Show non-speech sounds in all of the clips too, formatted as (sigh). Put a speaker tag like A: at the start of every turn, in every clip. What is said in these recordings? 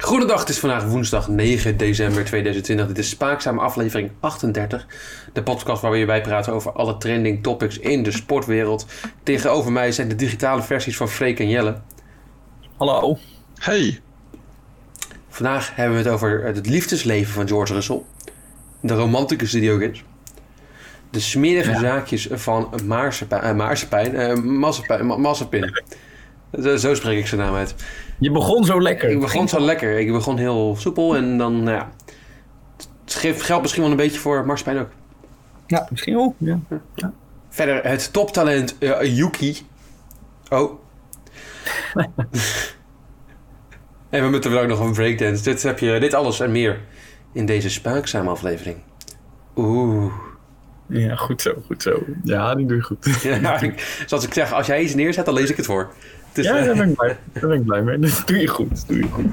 A: Goedendag, het is vandaag woensdag 9 december 2020. Dit is Spaakzame aflevering 38. De podcast waar we je bij praten over alle trending topics in de sportwereld. Tegenover mij zijn de digitale versies van Freek en Jelle.
B: Hallo.
C: Hey,
A: Vandaag hebben we het over het liefdesleven van George Russell. De romanticus die die ook is. De smerige
B: Ja.
A: zaakjes van Maarsepijn, eh, Maarsepijn, eh, Massepijn- Ma- Massepin. Zo, zo spreek ik zijn naam uit.
B: Je begon zo lekker.
A: Ik begon zo lekker. Ik begon heel soepel en dan, nou ja. Het geeft- geldt misschien wel een beetje voor Marsepijn ook.
B: Ja, misschien wel. Ja.
A: Verder het toptalent eh, Yuki. Oh. (laughs) en we moeten wel ook nog een breakdance. Dit heb je, dit alles en meer in deze spaakzame aflevering. Oeh.
B: ja, goed zo, goed zo. Ja, die doe je goed.
A: Ja, ik- (laughs) zoals ik zeg, als jij iets neerzet, dan lees ik het voor. Het is,
B: (laughs) ja,
A: eh,
B: daar ben, ik blij, daar ben ik blij mee. (laughs) Dat doe je goed, dat doe je goed.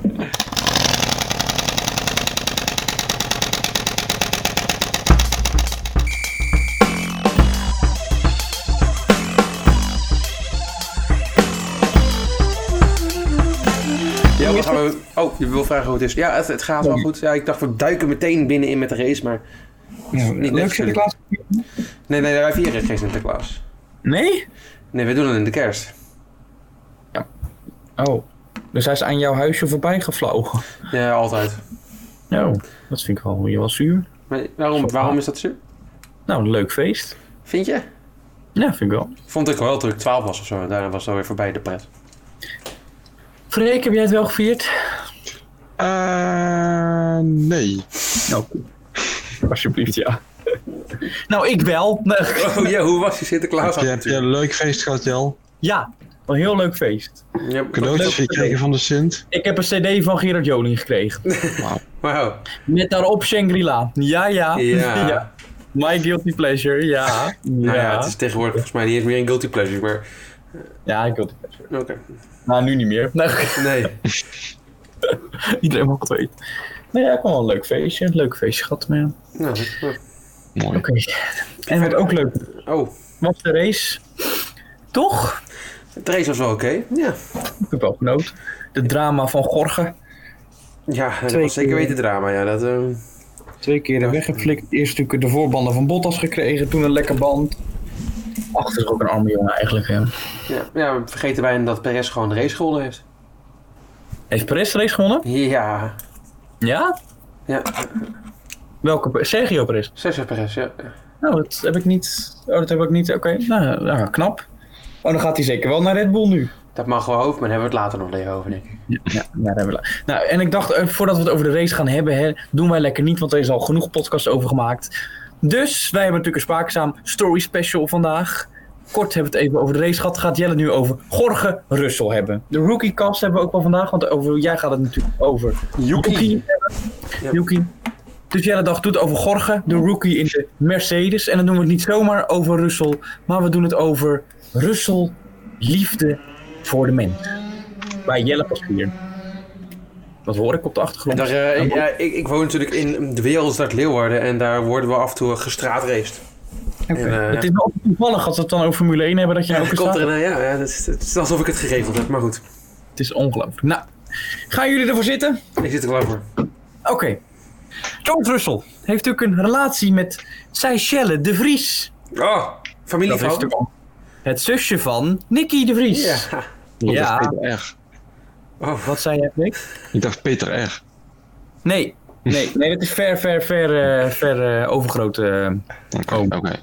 A: ja, wat gaan we, oh, je wil vragen hoe het is. Ja, het, het gaat wel goed. Ja, ik dacht, we duiken meteen binnenin met de race, maar...
B: Ja,
A: Niet leuk Sinterklaas? Nee, nee, wij vieren geen Sinterklaas.
B: Nee?
A: Nee, we doen het in de kerst.
B: Oh, dus hij is aan jouw huisje voorbij gevlogen.
A: Ja, altijd.
B: Nou, dat vind ik wel, je was zuur.
A: Maar waarom, waarom is dat zo?
B: Nou, een leuk feest.
A: Vind je?
B: Ja, vind ik wel.
A: Vond ik wel toen ik 12 was of zo. En daarna was het alweer voorbij de pret.
B: Freek, heb jij het wel gevierd?
C: Eh, nee.
B: Nou, alsjeblieft, ja. (laughs) Nou, ik wel. (laughs) Nee.
A: Oh ja, hoe was je Sinterklaas?
C: Heb je, heb je een leuk feest gehad, Jel?
B: Ja, een heel leuk feest.
A: Ja,
C: Cadeautjes
B: leuk.
C: gekregen van de Sint?
B: Ik heb een cd van Gerard Joling gekregen.
A: Wauw.
B: Met daarop Shangri-La. Ja, (laughs) ja.
A: oh. (laughs) Ja.
B: My guilty pleasure, ja.
D: (laughs)
B: Ja,
A: Nou ja, het is tegenwoordig volgens mij niet eens meer een guilty pleasure, maar...
B: ja guilty pleasure.
A: Oké.
B: Nou, nu niet meer. Nou, (laughs)
A: Nee.
B: iedereen mag het weten. Nee, ja, kwam wel een leuk feestje. Een leuk feestje gehad, maar ja.
A: Nou, eh,
C: Mooi.
B: Oké. En wat ook leuk
A: oh,
B: was de race. Toch?
A: het race was wel oké. Ja.
B: Ik heb wel genoten. De drama van Gorge.
A: Ja, dat
D: Twee
A: was zeker
D: keer.
A: weten drama. Ja, dat... eh,
D: Twee keer er weggeflikt. Eerst natuurlijk de voorbanden van Bottas gekregen, toen een lekker band.
B: Ach, dat is ook een arme jongen eigenlijk, hè.
A: ja. ja, we vergeten bijna dat Perez gewoon de race gewonnen heeft.
B: Heeft Perez de race gewonnen?
A: Ja.
B: Ja?
A: Ja,
B: Welke? Pe- Sergio Perez.
A: Sergio Perez, ja.
B: Nou, dat heb ik niet. Oh, dat heb ik niet. Oké, nou, nou, knap.
D: Oh, dan gaat hij zeker wel naar Red Bull nu.
A: Dat mag wel over, maar daar hebben we het later nog even over, denk ik.
B: Ja, ja, daar hebben we la- Nou, en ik dacht, eh, voordat we het over de race gaan hebben, hè, doen wij lekker niet, want er is al genoeg podcast over gemaakt. Dus wij hebben natuurlijk een spaakzaam story special vandaag. Kort hebben we het even over de race gehad. Gaat Jelle nu over Gorge Russell hebben. De rookie cast hebben we ook wel vandaag, want over, jij gaat het natuurlijk over Yuki.
A: Ja.
B: Yuki. Dus Jelle dacht, doet over Gorge, de rookie in de Mercedes. En dan doen we het niet zomaar over Russell, maar we doen het over Russell, liefde voor de mens. Bij Jelle Pasquier. Dat hoor ik op de achtergrond.
A: Daar, eh, ik- ja, ik, ik woon natuurlijk in de wereldstad Leeuwarden en daar worden we af en toe gestraatraced. En, eh,
B: het is wel toevallig als we het dan over Formule 1 hebben dat je
A: ja,
B: ook
A: het komt
B: staat.
A: er, nou ja, ja, het, is, het is alsof ik het geregeld heb, maar goed.
B: Het is ongelooflijk. Nou, gaan jullie ervoor zitten?
A: Ik zit er klaar voor.
B: Oké. George Russell heeft natuurlijk een relatie met Seychelle de Vries.
A: Oh,
B: Dat is
A: familiefoto.
B: natuurlijk ook het zusje van Nicky de Vries.
A: Ja.
B: Ja.
C: Ik dacht Peter R.
A: Oh, wat?
B: Wat zei jij, Nick?
C: Ik dacht Peter R.
B: Nee,
A: (laughs)
B: nee, nee, dat is ver, ver, ver, eh ver eh, overgrote. eh.
C: Oké.
B: Oh.
C: oké.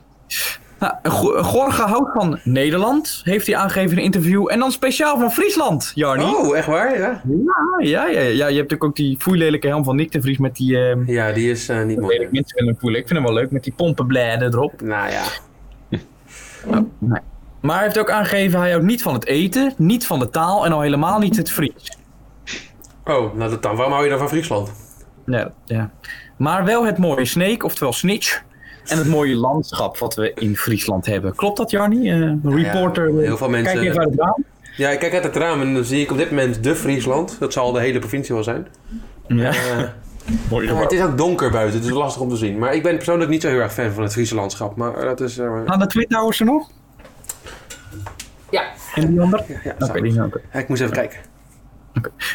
B: Nou, Go- Gorge houdt van Nederland, heeft hij aangegeven in een interview. En dan speciaal van Friesland, Jarni.
A: Oh, echt waar? Ja,
B: Ah, ja, ja, ja, je hebt natuurlijk ook die foeilelijke helm van Nick de Vries met die... ehm,
A: ja die is eh, niet
B: ik weet niet,
A: mooi.
B: mensen vinden hem foeilijk. Ik vind hem wel leuk, met die pompenbladen erop.
A: Nou ja.
B: Maar hij heeft ook aangegeven, hij houdt niet van het eten, niet van de taal en al helemaal niet het Fries.
A: Oh, nou dat dan. Waarom hou je dan van Friesland?
B: Nee, ja. Maar wel het mooie snake, oftewel snitch. En het mooie landschap wat we in Friesland hebben. Klopt dat, Jarni? Eh, reporter. eh,
A: Ja, heel veel mensen.
B: Kijk even uit het raam.
A: Ja, ik kijk uit het raam en dan zie ik op dit moment de Friesland. Dat zal de hele provincie wel zijn.
B: Ja.
A: Eh,
B: Mooi
A: Ja, maar het is ook donker buiten, dus lastig om te zien. Maar ik ben persoonlijk niet zo heel erg fan van het Friese landschap. Maar dat is. eh,
B: Aan de Twin Towers er nog? Ja. En die ander? Oké,
A: ja, ja,
B: die zijn ook.
A: ja, ik moest even kijken.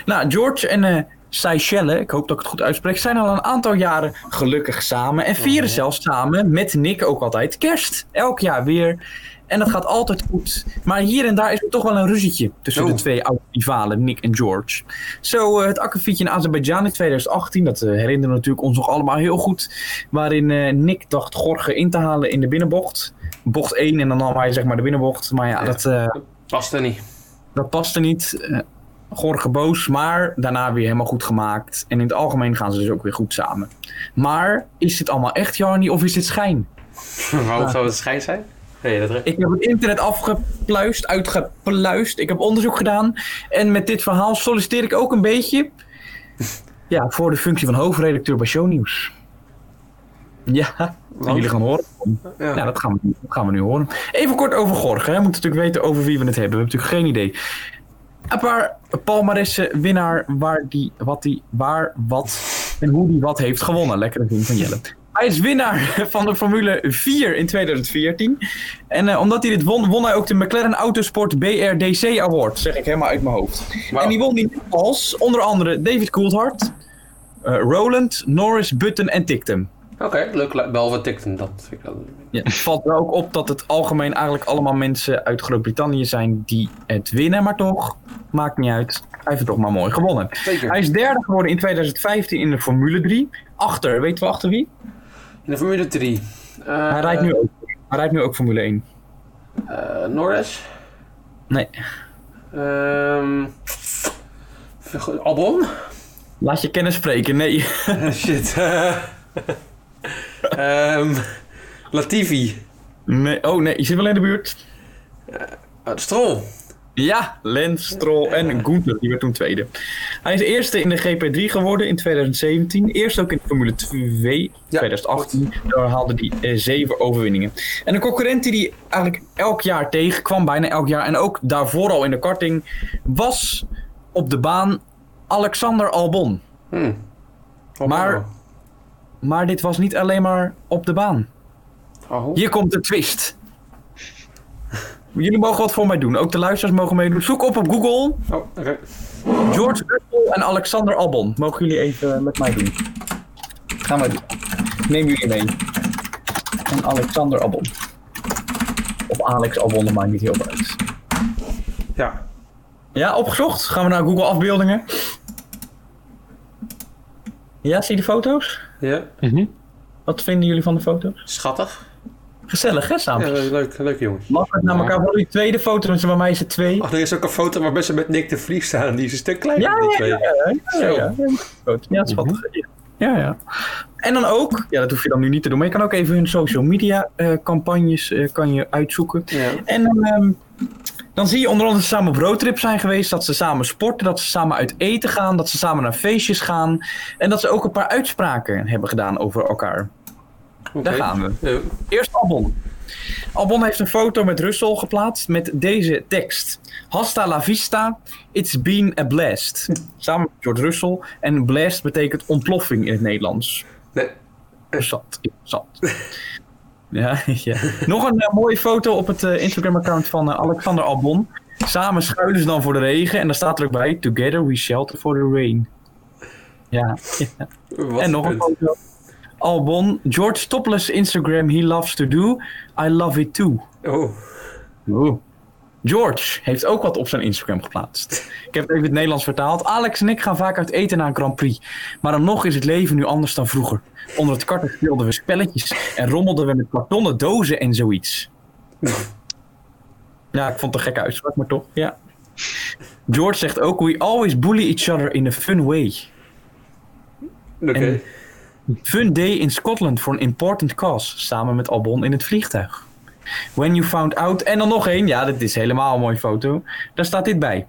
B: Nou, George en eh, Seychellen, ik hoop dat ik het goed uitspreek, zijn al een aantal jaren gelukkig samen. En vieren
A: Mhm.
B: zelfs samen met Nick ook altijd kerst. Elk jaar weer. En dat gaat altijd goed. Maar hier en daar is er toch wel een ruzietje tussen
A: Oh.
B: de twee oude rivalen, Nick en George. Zo, eh, het akkefietje in Azerbeidzjan in 2018, dat eh, herinneren we natuurlijk ons nog allemaal heel goed. Waarin eh, Nick dacht Gorge in te halen in de binnenbocht. Bocht 1 en dan nam hij zeg maar de binnenbocht. Maar ja,
A: Ja.
B: dat, eh,
A: Past er niet.
B: dat paste niet. Eh, Gorge boos, maar daarna weer helemaal goed gemaakt. En in het algemeen gaan ze dus ook weer goed samen. Maar is dit allemaal echt Jarny of is dit schijn?
A: (laughs) Waarom zou het schijn zijn? Nee, dat
B: Ik heb het internet afgepluist, uitgepluist. Ik heb onderzoek gedaan. En met dit verhaal solliciteer ik ook een beetje. Ja, voor de functie van hoofdredacteur bij Shownieuws. Ja,
A: Want?
B: jullie gaan horen.
A: Ja.
B: Ja, Nou, dat gaan, we, dat gaan we nu horen. Even kort over Gorg. Hè. We moeten natuurlijk weten over wie we het hebben. We hebben natuurlijk geen idee. Een paar palmaressen, winnaar, waar die, wat die, waar, wat en hoe die wat heeft gewonnen. Lekkere zin van Jelle. Hij is winnaar (laughs) van de Formule 4 in 2014. En eh, omdat hij dit won, won hij ook de McLaren Autosport BRDC Award. Zeg ik helemaal uit mijn hoofd.
A: Wauw.
B: En die won die als onder andere David Coulthard, eh, Roland, Norris, Button en Tictum.
A: Oké, leuk. lu- Behalve tikten dat. Vind ik wel-
B: Ja, het valt wel ook op dat het algemeen eigenlijk allemaal mensen uit Groot-Brittannië zijn die het winnen, maar toch, maakt niet uit. Hij heeft het toch maar mooi gewonnen.
A: Zeker.
B: Hij is derde geworden in 2015 in de Formule 3. Achter, weten we achter wie?
A: In de Formule 3. Eh,
B: Hij rijdt nu ook, hij rijdt nu ook Formule 1.
A: eh, Norris.
B: Nee,
A: Ehm Albon.
B: laat je kennis spreken. Nee,
A: (laughs)
B: (laughs)
A: Shit. (laughs) Ehm, Latifi.
B: nee. oh nee, je zit wel in de buurt.
A: Eh, Stroll.
B: Ja, Lens, Stroll en Gunther, die werd toen tweede. Hij is eerste in de GP3 geworden in 2017. Eerst ook in de Formule 2 2018. Daar haalde hij eh, zeven overwinningen. En een concurrent die hij eigenlijk elk jaar tegenkwam, bijna elk jaar, en ook daarvoor al in de karting, was op de baan Alexander Albon.
A: Hm. Albon.
B: Maar- Maar dit was niet alleen maar op de baan.
A: Oh.
B: Hier komt de twist. Jullie mogen wat voor mij doen. Ook de luisteraars mogen meedoen. Zoek op op Google
A: Oh, oké.
B: George Russell en Alexander Albon. Mogen jullie even eh, met mij doen? Gaan we doen. Neem jullie mee. En Alexander Albon. Of Alex Albon, dat maakt niet heel veel uit.
A: Ja.
B: Ja, opgezocht. Gaan we naar Google afbeeldingen. Ja, zie je de foto's?
A: ja.
C: Mhm.
B: Wat vinden jullie van de foto's?
A: Schattig.
B: Gezellig, hè,
A: Ja,
B: samen?
A: leuk, leuk jongen.
B: Mag het naar elkaar voor die tweede foto, want bij mij is het twee.
A: Ach, er is ook een foto waar mensen met Nick de Vries staan. Die is een stuk kleiner
B: Ja,
A: dan die
B: ja,
A: twee.
B: ja, ja, ja, ja, ja. Ja, dat is wat. Ja, ja. En dan ook, ja, dat hoef je dan nu niet te doen, maar je kan ook even hun social media eh, campagnes eh, kan je uitzoeken.
A: Ja.
B: En dan, ehm, dan zie je onder andere dat ze samen op roadtrip zijn geweest, dat ze samen sporten, dat ze samen uit eten gaan, dat ze samen naar feestjes gaan en dat ze ook een paar uitspraken hebben gedaan over elkaar.
A: Oké.
B: Daar gaan we.
A: Ja.
B: Eerst Albon. Albon heeft een foto met Russell geplaatst met deze tekst. Hasta la vista, it's been a blast. Samen met George Russell. En blast betekent ontploffing in het Nederlands.
A: Nee.
B: Zat, ik zat. Ja, (laughs) ja. Nog een eh, mooie foto op het eh, Instagram-account van eh, Alexander Albon. Samen schuilen ze dan voor de regen. En daar staat er ook bij, together we shelter for the rain. Ja,
A: Wat
B: en nog een
A: punt.
B: foto. Albon, George Topless Instagram, he loves to do. I love it too.
A: Oh.
B: George heeft ook wat op zijn Instagram geplaatst. Ik heb het even in het Nederlands vertaald. Alex en ik gaan vaak uit eten naar een Grand Prix. Maar dan nog is het leven nu anders dan vroeger. Onder het karten speelden we spelletjes en rommelden we met kartonnen dozen en zoiets. Ja, ik vond het een gekke uitspraak, maar toch, ja. George zegt ook, we always bully each other in a fun way.
A: Oké.
B: En- Fun day in Scotland for an important cause. Samen met Albon in het vliegtuig. When you found out. En dan nog één. Ja, dit is helemaal een mooie foto. Daar staat dit bij.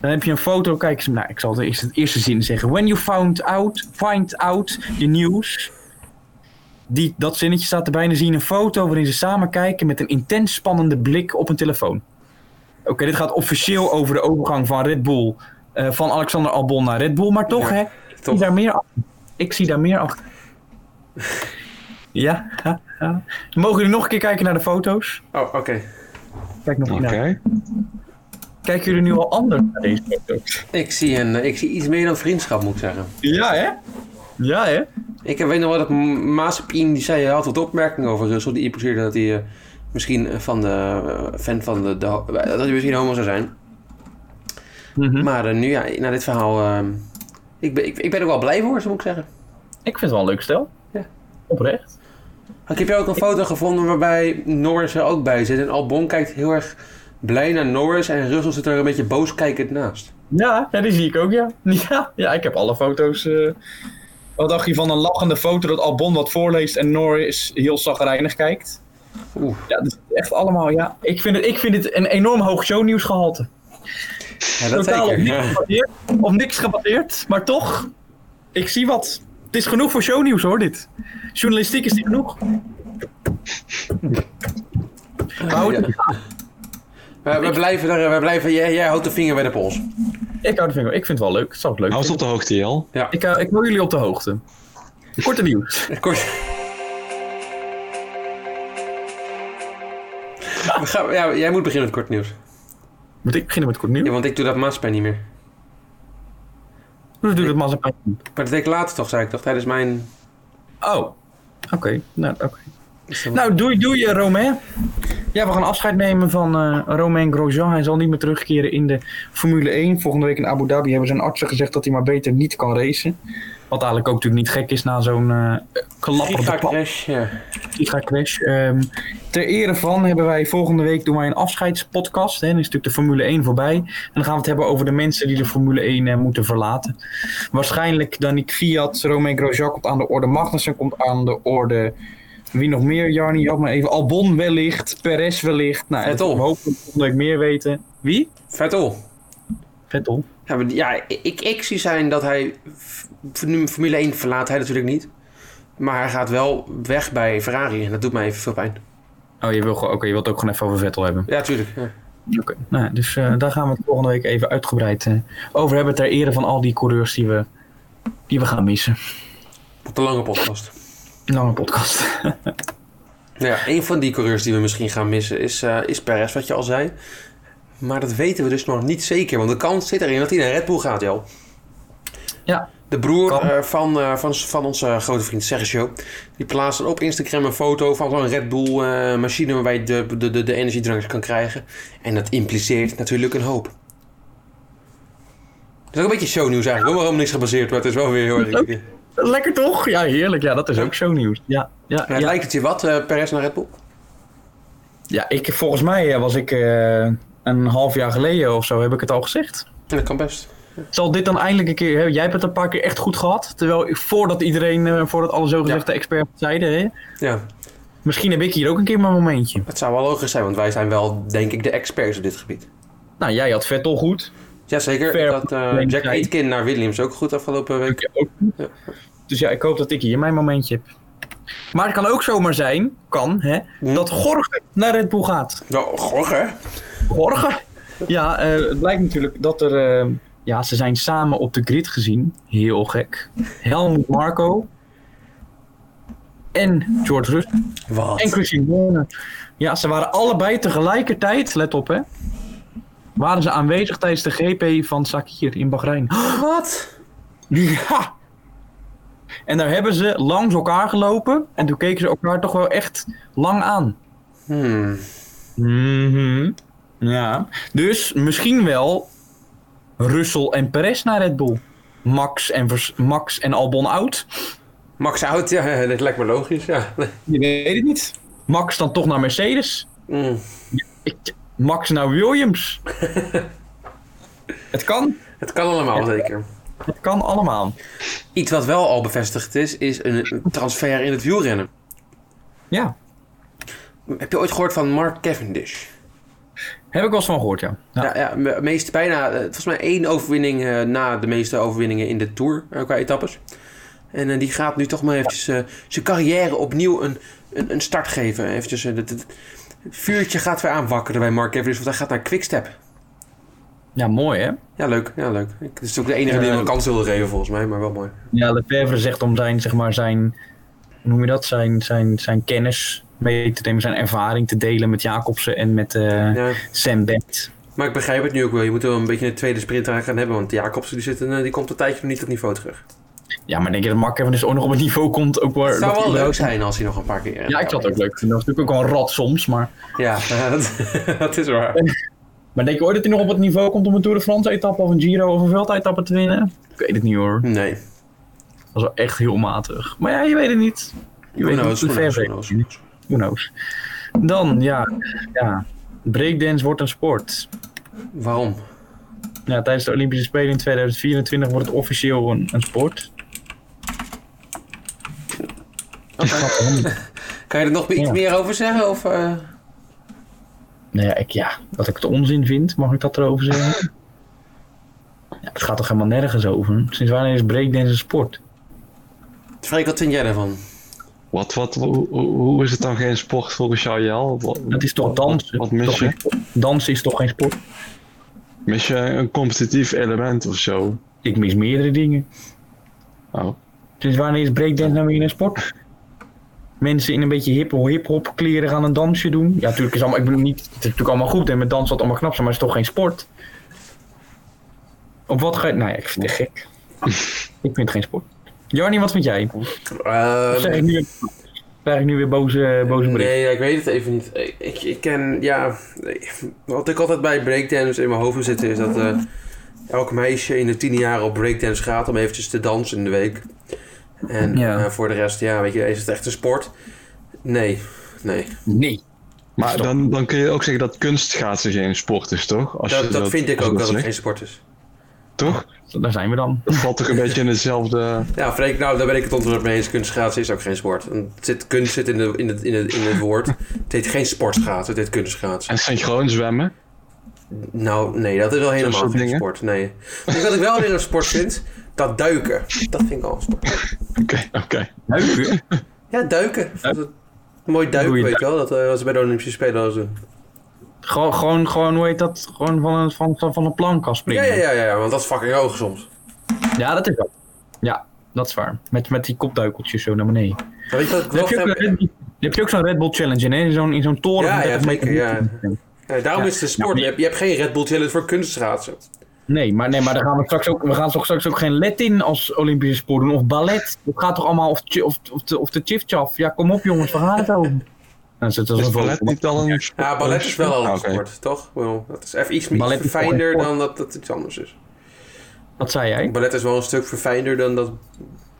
B: Dan heb je een foto. Kijk eens. Nou, ik zal de eerste, het eerste zin zeggen. When you found out. Find out the news. Die, dat zinnetje staat erbij. En dan zie je een foto waarin ze samen kijken met een intens spannende blik op een telefoon. Oké, dit gaat officieel over de overgang van Red Bull. eh, van Alexander Albon naar Red Bull. Maar toch,
A: Ja.
B: hè?
A: Toch.
B: Ik zie daar meer achter. Ik zie daar meer achter. Ja, ja, ja. Mogen jullie nog een keer kijken naar de foto's?
A: Oh, oké.
B: Kijk nog een keer
C: Oké.
B: naar. Kijken jullie nu al anders naar deze auto's?
A: Ik zie, een, eh, ik zie iets meer dan vriendschap, moet ik zeggen.
B: Ja, hè? Ja, hè?
A: Ik weet nog wel dat M- Mazepin, die zei, hij had wat opmerkingen over Russell. Die impliceerde dat hij eh, misschien eh, van de eh, fan van de, de ho- eh, dat hij misschien homo zou zijn.
B: Mhm.
A: Maar eh, nu, ja, na dit verhaal, eh, ik, ben, ik, ik ben er wel blij voor, zo moet ik zeggen.
B: Ik vind het wel een leuk stel.
A: Ja.
B: Oprecht.
A: Ik heb jou ook een foto gevonden waarbij Norris er ook bij zit. En Albon kijkt heel erg blij naar Norris en Russell zit er een beetje boos kijkend naast.
B: Ja, ja, die zie ik ook, ja. (laughs) Ja, ja ik heb alle foto's. eh.
D: Wat dacht je van een lachende foto dat Albon wat voorleest en Norris heel zagrijnig kijkt?
A: Oeh.
B: Ja, dat is echt allemaal, ja. Ik vind het, ik vind het een enorm hoog shownieuwsgehalte.
A: Ja, dat
B: Totaal op
A: zeker.
B: niks,
A: Ja.
B: gebaseerd, op niks gebaseerd, maar toch, ik zie wat. Het is genoeg voor shownieuws hoor, dit. Journalistiek is dit genoeg. Houd-
A: Ja. We, we blijven daar, we blijven, jij, jij houdt de vinger bij de pols.
B: Ik hou de vinger, ik vind het wel leuk. Ik zou het leuk
C: Hou eens op
B: vinden.
C: de hoogte, Jel.
A: Ja,
B: Ik, eh, ik hou jullie op de hoogte. Korte nieuws.
A: kort. We gaan, ja, jij moet beginnen met kort nieuws.
B: Moet ik beginnen met kort nieuws?
A: Ja, want ik doe dat maatschappij niet meer.
B: Dus doe dat Mazepin.
A: Maar dat deed ik later toch, zei ik toch, tijdens mijn...
B: Oh, oké. Nou, oké. nou, doei doei eh, Romain. Ja, we gaan afscheid nemen van eh, Romain Grosjean. Hij zal niet meer terugkeren in de
D: Formule 1, volgende week in Abu Dhabi hebben zijn artsen gezegd dat hij maar beter niet kan racen.
B: Wat eigenlijk ook natuurlijk niet gek is na zo'n eh klapperende klap-
A: Gigacrash, ja.
B: gigacrash. Ehm, ter ere van hebben wij volgende week doen wij een afscheidspodcast. Hè. Dan is natuurlijk de Formule 1 voorbij. En dan gaan we het hebben over de mensen die de Formule 1 eh, moeten verlaten.
D: Waarschijnlijk Danick Fiat, Romain Grosjean komt aan de orde, Magnussen komt aan de orde. Wie nog meer, Jarni, help me even. Albon wellicht, Perez wellicht. Nou,
A: Vettel.
D: dat- we hopen dat we volgende week meer weten. Wie?
A: Vettel.
B: Vettel.
A: oh. Ja, maar- ja ik, ik zie zijn dat hij... f- f- Formule 1 verlaat hij natuurlijk niet. Maar hij gaat wel weg bij Ferrari en dat doet mij even veel pijn.
B: Oh, je, wil, gewoon- oké, je wilt ook gewoon even over Vettel hebben.
A: Ja, tuurlijk. Ja.
B: Oké. Nou, ja, dus eh, daar gaan we het volgende week even uitgebreid eh, over hebben. Ter ere van al die coureurs die we, die we gaan missen.
A: Wat een lange podcast.
B: Lange podcast.
A: Nou ja, een van die coureurs die we misschien gaan missen is, eh is Perez, wat je al zei. Maar dat weten we dus nog niet zeker, want de kans zit erin dat hij naar Red Bull gaat, Jel.
B: Ja.
A: De broer
B: Kan.
A: eh, van, eh, van, van onze grote vriend Sergio, die plaatste op Instagram een foto van zo'n Red Bull eh, machine waarbij je de, de, de, de energiedrankjes kan krijgen. En dat impliceert natuurlijk een hoop. Dat is ook een beetje shownieuws eigenlijk, hoor, waarom niks gebaseerd wordt. Het is wel weer
B: (laughs)
A: heel erg...
B: Leuk. (laughs) Lekker toch? Ja, heerlijk. Ja, dat is ook shownieuws. Ja, ja,
A: Ja,
B: ja.
A: Lijkt het je wat, eh Perez naar Red Bull?
B: ja ik, volgens mij eh, was ik eh, een half jaar geleden of zo, heb ik het al gezegd.
A: Ja, dat kan best.
B: Zal dit dan eindelijk een keer... Hè? Jij hebt het een paar keer echt goed gehad. Terwijl ik- voordat iedereen, eh, voordat alle zogezegde experts het zeiden... Hè?
A: Ja.
B: Misschien heb ik hier ook een keer mijn momentje.
A: Het zou wel logisch zijn, want wij zijn wel, denk ik, de experts op dit gebied.
B: Nou, jij had Vettel goed.
A: Jazeker,
B: Fair
A: dat eh,
B: play,
A: Jack
B: zei-
A: Aitken naar Williams ook goed afgelopen week.
B: Ik ook niet.
A: Ja.
B: Dus ja, ik hoop dat ik hier mijn momentje heb. Maar het kan ook zomaar zijn, kan, hè, dat Gorge naar Red Bull gaat.
A: Nou, goh, hè?
B: Gorge? Ja, eh, het blijkt natuurlijk dat er... eh, ja, ze zijn samen op de grid gezien. Heel gek. Helmut Marco. En George Russell.
A: Wat?
B: En Christian Horner. Ja, ze waren allebei tegelijkertijd, let op hè. Waren ze aanwezig tijdens de GP van Sakir in Bahrein.
A: Wat?
B: (laughs) Ja! En daar hebben ze langs elkaar gelopen. En toen keken ze elkaar toch wel echt lang aan.
A: Hmm.
B: Mhm. Ja. Dus misschien wel Russell en Perez naar Red Bull. Max en, Vers- Max en Albon oud.
A: Max Out, ja, (laughs) dat lijkt me logisch, ja.
D: Je weet het niet.
B: Max dan toch naar Mercedes.
A: Hmm.
B: Ik- Max naar
D: (laughs)
B: Williams.
D: Het kan.
A: Het kan allemaal, zeker.
B: Het kan allemaal.
A: Iets wat wel al bevestigd is, is een transfer in het wielrennen.
B: Ja.
A: Heb je ooit gehoord van Mark Cavendish?
B: Heb ik wel eens van gehoord, ja. ja.
A: Ja, ja me- meest bijna, eh, volgens mij één overwinning eh, na de meeste overwinningen in de Tour eh, qua etappes. En eh, die gaat nu toch maar eventjes eh, zijn carrière opnieuw een, een, een start geven. Eventjes, eh, dat- dat- het vuurtje gaat weer aanwakkeren bij Mark Cavendish, want hij gaat naar Quickstep.
B: Ja, mooi hè.
A: Ja, leuk. Ja, leuk. Ik- Het is ook de enige die
B: Ja.
A: hem een kans wilde geven volgens mij, maar wel mooi.
B: Ja, Lefebvre zegt om zijn, zeg maar, zijn, hoe noem je dat, zijn, zijn, zijn kennis mee te nemen, zijn ervaring te delen met Jacobsen en met eh,
A: Ja.
B: Sam Bent.
A: Maar ik begrijp het nu ook wel. Je moet wel een beetje een tweede sprint aan gaan hebben. Want Jacobsen die, zit, in, eh, die komt een tijdje nog niet op niveau terug.
B: Ja, maar denk je dat Mark Cavendish ook nog op het niveau komt? Ook waar,
A: Het zou
B: dat
A: wel
B: hij-
A: leuk zijn als hij nog een paar keer... eh,
B: Ja, ik zou het ook leuk vinden. Dat is natuurlijk ook wel een rat soms, maar...
A: (laughs) Ja, (laughs) dat, dat is waar.
B: Maar denk je ooit dat hij nog op het niveau komt om een Tour de France-etappe of een Giro of een veldetappe te winnen? Ik weet het niet hoor.
A: Nee.
B: Dat is wel echt heel matig. Maar ja, je weet het niet. Je weet
A: Who
B: het
A: knows,
B: niet.
A: who
B: Ver
A: knows,
B: weg.
A: who knows.
B: Who knows. Dan, ja. ja. Breakdance wordt een sport.
A: Waarom?
B: Ja, tijdens de Olympische Spelen in 2024 wordt het officieel een, een sport.
A: Kan je er nog iets
B: Ja.
A: meer over zeggen? Of, eh,
B: Nou ja, ik, ja, dat ik het onzin vind, mag ik dat erover zeggen? Ja, het gaat toch helemaal nergens over? Sinds wanneer is breakdance een sport?
A: Freek, wat vind jij daarvan?
C: Wat, wat, hoe, hoe- hoe is het dan geen sport volgens jou, Jel? Wat-
B: Dat is toch dansen?
C: Wat mis
B: Toch
C: je?
B: geen sport? Dansen is toch geen sport?
C: Mis je een competitief element of zo?
B: Ik mis meerdere dingen.
C: Oh.
B: Sinds wanneer is breakdance nou weer een sport? Mensen in een beetje hip- hip-hop kleren gaan een dansje doen. Ja, natuurlijk is allemaal, ik bedoel niet, het is natuurlijk allemaal goed en met dans zal het allemaal knap zijn, maar het is toch geen sport? Op wat ga je. Nou ja, ik vind het
A: (laughs)
B: gek. ik vind het geen sport. Jarni, wat vind jij? Of zeg ik nu, krijg ik nu weer boze, boze bericht?
A: Ehm, Nee, ja, ik weet het even niet. Ik, ik, ik ken, ja. Wat ik altijd bij breakdance in mijn hoofd heb zitten is dat eh, elk meisje in de tien jaar op breakdance gaat om eventjes te dansen in de week. En
B: Ja.
A: eh, voor de rest, ja, weet je, is het echt een sport? Nee, nee.
B: Nee.
C: Maar
B: Stop.
C: dan, dan kun je ook zeggen dat kunstschaatsen geen sport is, toch? Als je
A: Dat, dat vind ik
C: als je
A: ook dat het
C: zegt,
A: geen sport is.
C: Toch?
B: Daar zijn we dan.
C: Dat valt toch een beetje in hetzelfde...
A: Ja, Freek, nou, daar ben ik het antwoord mee eens. Kunstschaatsen is ook geen sport. En het zit, kunst zit in, de, in, het, in, het, in het woord. Het heet geen sportschaatsen, het heet kunstschaatsen.
C: En synchroon zwemmen.
A: Nou, nee, dat is wel helemaal
C: soort
A: geen
C: dingen.
A: sport. Nee. Dus wat ik wel weer een sport vind, dat duiken. Dat vind ik al een sport.
C: Oké, oké.
B: Leuker.
A: Ja, duiken. Dat- dat- mooi duiken,
B: Doe je
A: weet je wel. Dat eh, was bij de Olympische Spelen al zo.
B: Gewoon, gewoon, gewoon, hoe heet dat? Gewoon van een, van, van van een plank kan
A: Ja,
B: springen.
A: ja, ja, ja, want dat is fucking hoog soms.
B: Ja, dat is wel. Ja, dat is waar. Met, met die kopduikeltjes zo naar beneden. Dan
A: Maar weet je wat ik
B: heb
A: beloofd
B: je ook,
A: heb?
B: een Red Bull- dan heb je ook zo'n Red Bull Challenge in, hè? In zo'n, in zo'n toren.
A: Ja,
B: van
A: ja,
B: 30 meter
A: zeker, ja.
B: diepte.
A: Ja, daarom
B: Ja.
A: is het een sport. Je hebt, je hebt geen Red Bull Challenge voor kunstschaatsen.
B: Nee, maar, nee, maar dan gaan we straks ook, we gaan toch straks ook geen Latin als Olympische sport doen. Of ballet. Dat gaat toch allemaal. Of, chi- of, of, de, of de chif-chaf. Ja, kom op jongens, we gaan het over. Nou, dat is
C: Is
B: een
C: ballet niet al een sport?
A: Ja, ballet is wel al een
C: Oké.
A: sport, toch? Ik bedoel, Dat is even iets meer
B: Ah, Ballet is wel een
A: verfijnder
B: sport.
A: dan dat dat iets anders is.
B: Wat zei jij?
A: Ballet is wel een stuk verfijnder dan dat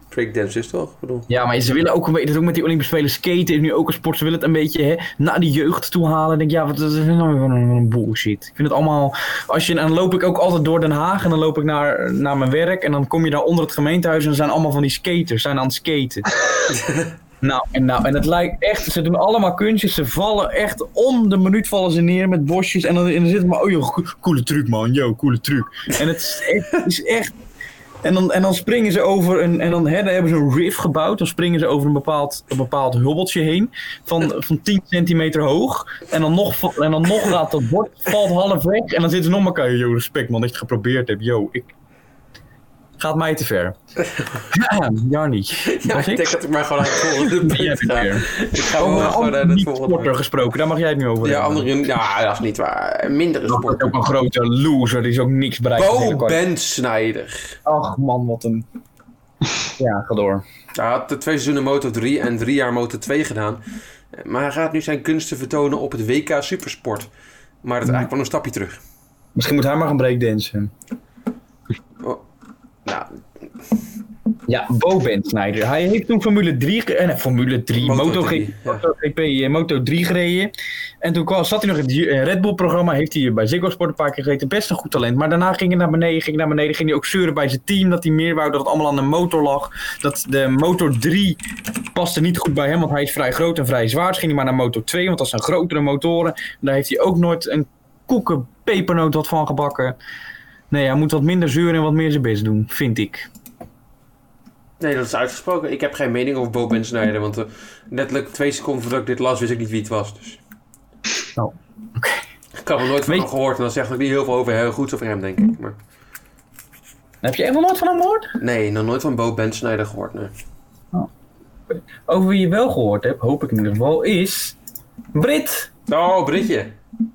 A: breakdance is, toch? Ik bedoel,
B: Ja, maar ze willen ook een beetje, dat is ook met die Olympische Spelen skaten is nu ook een sport. Ze willen het een beetje hè, naar die jeugd toe halen. Ik denk, ja, wat dat is nou weer van een, een bullshit. Ik vind het allemaal, als je, en dan loop ik ook altijd door Den Haag en dan loop ik naar, naar mijn werk. En dan kom je daar onder het gemeentehuis en dan zijn allemaal van die skaters, zijn aan het skaten. nou, en nou, en het lijkt echt, ze doen allemaal kunstjes. Ze vallen echt om de minuut vallen ze neer met bosjes. En dan, en dan zit het maar, oh joh, co- coole truc man, yo, coole truc. En het is echt, het is echt en dan, en dan springen ze over een. En dan, hè, dan hebben ze een riff gebouwd. Dan springen ze over een bepaald, een bepaald hubbeltje heen. Van, van 10 centimeter hoog. En dan nog, va- en dan nog laat dat bord. Valt half weg. En dan zitten ze nog maar. elkaar, Yo, respect man dat je het geprobeerd hebt. Yo, ik. Gaat mij te
A: (laughs)
B: ver. Ja, Jarni.
A: ja,
B: Was
A: ik denk
B: ik?
A: dat ik maar gewoon aan het
B: (laughs)
A: volgende
B: Ben jij
A: punt ga.
B: weer.
A: Ik ga wel
B: Over een
A: gewoon naar
B: andere
A: het volgende
B: niet-sporter gesproken. Daar mag jij het nu over
A: Ja,
B: hebben.
A: andere, ja, dat is niet waar. Mindere
B: Dat is
A: sport.
B: ook een grote loser. Die is ook niks bereikt.
A: Bo Bensnijder.
B: Ach man, wat een... Ja, ga door.
A: Hij had de twee seizoenen Moto 3 en drie jaar Moto 2 gedaan. Maar hij gaat nu zijn kunsten vertonen op het WK Supersport. Maar dat is eigenlijk wel een stapje terug.
B: Misschien moet hij maar gaan breakdansen.
A: Nou,
B: Ja, Bo Ben Snyder. Hij heeft toen Formule 3, ge- eh, nee, Formule 3,
A: Moto
B: Moto
A: 3, ja.
B: MotoGP, eh, Moto 3 gereden. En toen kwam, zat hij nog in het Ju- eh, Red Bull-programma, heeft hij bij Ziggo Sport een paar keer gezeten. Best een goed talent, maar daarna ging hij naar beneden, ging hij naar beneden, ging hij ook zeuren bij zijn team, dat hij meer wou, dat het allemaal aan de motor lag. Dat de Motor 3 paste niet goed bij hem, want hij is vrij groot en vrij zwaar. Dus ging hij maar naar Moto 2, want dat zijn grotere motoren. En daar heeft hij ook nooit een koekenpepernoot wat van gebakken. Nee, hij moet wat minder zeuren en wat meer zijn best doen, vind ik.
A: nee, dat is uitgesproken. Ik heb geen mening over Bo Bensnijder. Want eh, letterlijk twee seconden voordat ik dit las, wist ik niet wie het was. Dus.
B: Oh, oké.
A: Ik had er nooit van
B: Weet-
A: hem gehoord. En dan zegt ook niet heel veel over heel goed over hem, denk ik. Maar,
B: Heb je echt nog nooit van hem gehoord?
A: nee, nog nooit van Bo Bensnijder gehoord. Nee.
B: Over wie je wel gehoord hebt, hoop ik in ieder geval, is... Brit!
A: Oh, Britje.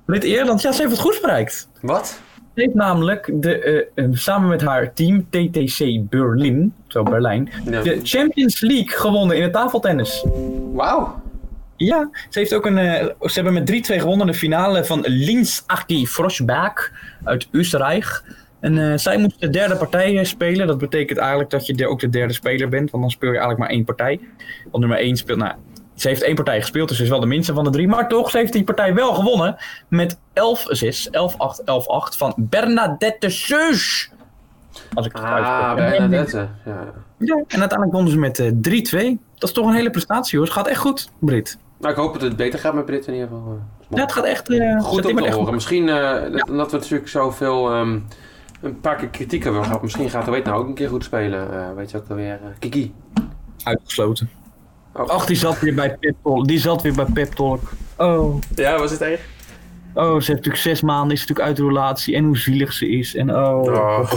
B: Dit Ierland, ja, ze heeft het goed bereikt.
A: Wat?
B: Ze heeft namelijk de, eh, eh, samen met haar team TTC Berlin, zo Berlijn,
A: Ja.
B: de Champions League gewonnen in het tafeltennis.
A: Wauw.
B: Ja, ze, heeft ook een, eh, ze hebben met 3-2 gewonnen in de finale van Linz Aki Frosbach uit Oostenrijk. En eh, zij moest de derde partij eh, spelen. Dat betekent eigenlijk dat je de- ook de derde speler bent, want dan speel je eigenlijk maar één partij. Want nummer één speelt, nou, ze heeft één partij gespeeld, dus ze is wel de minste van de drie. Maar toch, ze heeft die partij wel gewonnen met 11-6, 11-8, 11-8 van Bernadette Seus. Als ik het
A: Ah,
B: uitspreek.
A: bijna netten. Ja.
B: Ja, en uiteindelijk wonnen ze met eh, 3-2. Dat is toch een hele prestatie hoor. Het gaat echt goed, Brit.
A: Nou, ik hoop dat het beter gaat met Britten in ieder geval. eh.
B: Ja, het gaat echt eh,
A: Goed
B: september
A: om te
B: echt
A: horen. Misschien, eh, dat, omdat we natuurlijk zoveel, ehm, een paar keer kritiek hebben gehad. Misschien gaat de weet nou ook een keer goed spelen. Eh, weet je ook alweer. eh, Kiki.
B: uitgesloten.
A: Oh.
B: Ach, die zat weer bij Pep Talk. Die zat weer bij Pep Talk. Oh,
A: Ja, was het echt?
B: oh, ze heeft natuurlijk zes maanden, is natuurlijk uit de relatie en hoe zielig ze is. En oh.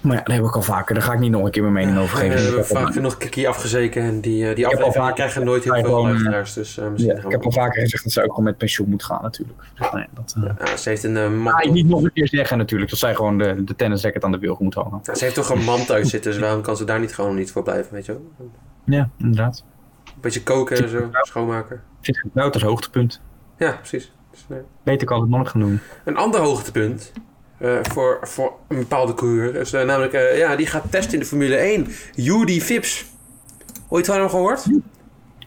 B: Maar ja, dat heb ik al vaker. Daar ga ik niet nog een keer mijn mening over
A: we
B: geven.
A: hebben
B: Ik heb al-
A: vaak genoeg Kiki afgezeken. En die, eh, die
B: heb al
A: aflevering
B: vaker-
A: krijgen nooit heel
B: Ja,
A: veel
B: gewoon, eh,
A: luisteraars. Dus eh, misschien
B: ja,
A: gaan
B: ik
A: we...
B: heb al vaker gezegd dat zij ook gewoon met pensioen moet gaan natuurlijk. Dus, nou ja, dat eh,
A: Ja, ze heeft een eh,
B: ga ik
A: mantel.
B: niet nog een keer zeggen natuurlijk. Dat zij gewoon de, de tennisracket aan de wilgen moet hangen.
A: Ja, ze heeft toch een man thuis zitten. Dus waarom kan ze daar niet gewoon niet voor blijven, weet je wel?
B: Ja, inderdaad.
A: Een beetje koken en zo. Schoonmaken.
B: Zit gebruikt als hoogtepunt.
A: Ja, precies. Dus, nee.
B: Beter kan het nooit gaan doen.
A: Een ander hoogtepunt eh, voor, voor een bepaalde coureur is eh, namelijk, eh, ja, die gaat testen in de Formule 1. Judy Vips. Ooit van hem gehoord?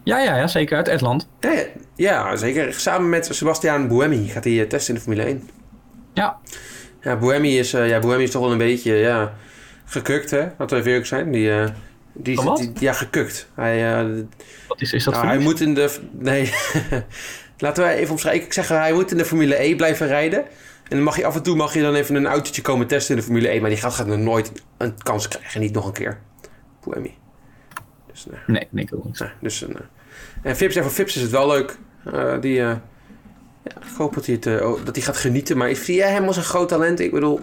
B: Ja, ja, ja, zeker. Uit Estland.
A: Ja, ja, zeker. Samen met Sebastian Buemi gaat hij eh, testen in de Formule 1.
B: Ja.
A: Ja, Buemi is, eh, ja, Buemi is toch wel een beetje ja, gekukt, hè? Laten we even eerlijk zijn. Die, eh, die,
B: Van wat?
A: die- ja, gekukt. Hij, eh,
B: Wat is, is dat
A: nou,
B: voor
A: hij
B: iets?
A: moet in de... Nee. (laughs) Laten wij even omschrijven. Ik zeg, hij moet in de Formule E blijven rijden. En dan mag je af en toe mag je dan even een autootje komen testen in de Formule 1. Maar die gaat, gaat nog nooit een kans krijgen. Niet nog een keer. Buemi. Dus, nee.
B: Nee, nee, ik ook niet.
A: Nou, dus een, eh, en Vips, en voor Vips is het wel leuk. Eh, die, eh, ja, ik hoop dat hij, het, eh, oh, dat hij gaat genieten. Maar zie jij hem als een groot talent? Ik bedoel,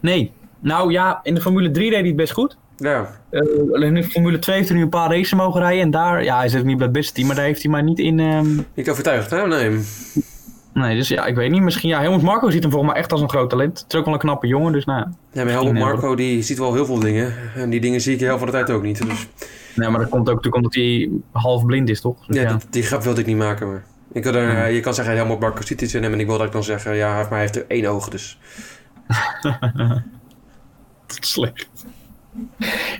B: Nee. Nou ja, in de Formule 3 deed hij het best goed.
A: ja.
B: Eh, alleen in de Formule 2 heeft hij nu een paar races mogen rijden. En daar, ja, hij zit niet bij het beste team, maar daar heeft hij maar niet in. ehm,
A: Niet overtuigd, hè? Nee.
B: Nee, dus ja, ik weet niet. Misschien, ja, Helmut Marco ziet hem volgens mij echt als een groot talent. Het is ook wel een knappe jongen, dus nou ja.
A: Ja, maar Helmut
B: Nee, hoor.
A: Marco die ziet wel heel veel dingen. En die dingen zie ik heel veel de tijd ook niet. Dus,
B: Nee, maar dat komt ook natuurlijk omdat hij half blind is, toch? Dus
A: ja,
B: ja,
A: Die, die grap wilde ik niet maken. Maar. Ik wil er,
B: Hmm.
A: eh, je kan zeggen, Helmut Marco ziet iets in hem. En ik wil dat ik dan zeggen, ja, hij heeft- maar hij heeft er één oog. Dus
B: dat is slecht.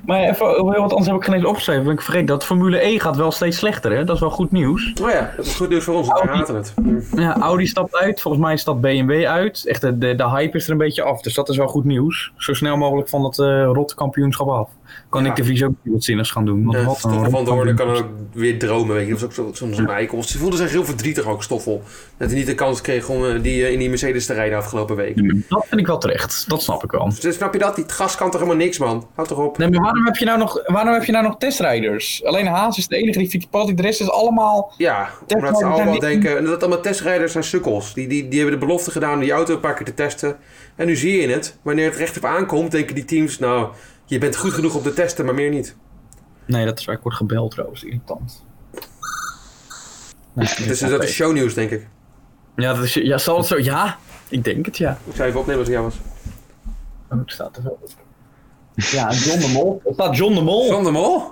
B: Maar even eh, heel wat anders heb ik geen eens opgeschreven. want Ik vergeet dat Formule E gaat wel steeds slechter, hè? Dat is wel goed nieuws.
A: oh ja, dat is goed nieuws voor ons. want We haten het.
B: Ja, Audi stapt uit. Volgens mij stapt BMW uit. Echt, de, de, de hype is er een beetje af. Dus dat is wel goed nieuws. Zo snel mogelijk van dat eh rotte kampioenschap af. Kan
A: Ja.
B: ik de Vries ook niet wat zinnigs gaan doen. Want
A: Ja,
B: wat een
A: Stoffel Eh, van
B: rotte
A: de Hoorn kan
B: kampioenschap.
A: ook weer dromen. Weet je. Dat is ook zo- soms een eikel. Ze voelde zich heel verdrietig ook, Stoffel. Dat hij niet de kans kreeg om eh, die, eh, in die Mercedes te rijden afgelopen week.
B: Dat vind ik wel terecht. Dat snap ik wel.
A: Dus snap je dat? Die gast kan toch helemaal niks, man? Houd toch op.
B: Nee, maar waarom heb je nou nog...
D: Nog, waarom heb je nou nog testrijders? Alleen Haas is de enige die Fittipaldi, de rest is allemaal...
A: Ja, omdat ze
D: Testrijden
A: allemaal
D: zijn die-
A: denken dat allemaal testrijders zijn sukkels. Die, die, die hebben de belofte gedaan om die auto een paar keer te testen. En nu zie je het. Wanneer het recht op aankomt, denken die teams... Nou, je bent goed genoeg om te testen, maar meer niet.
B: Nee, dat is waar. Ik word gebeld trouwens. Irritant. Nee,
A: Dus dat is shownieuws, denk ik.
B: Ja, dat is... Ja, zal het zo... Ja, ik denk het, ja.
A: Ik zou even opnemen als het jou was.
B: Oh, het staat er wel op. Ja, John de Mol. Het staat John de Mol.
A: Van de Mol?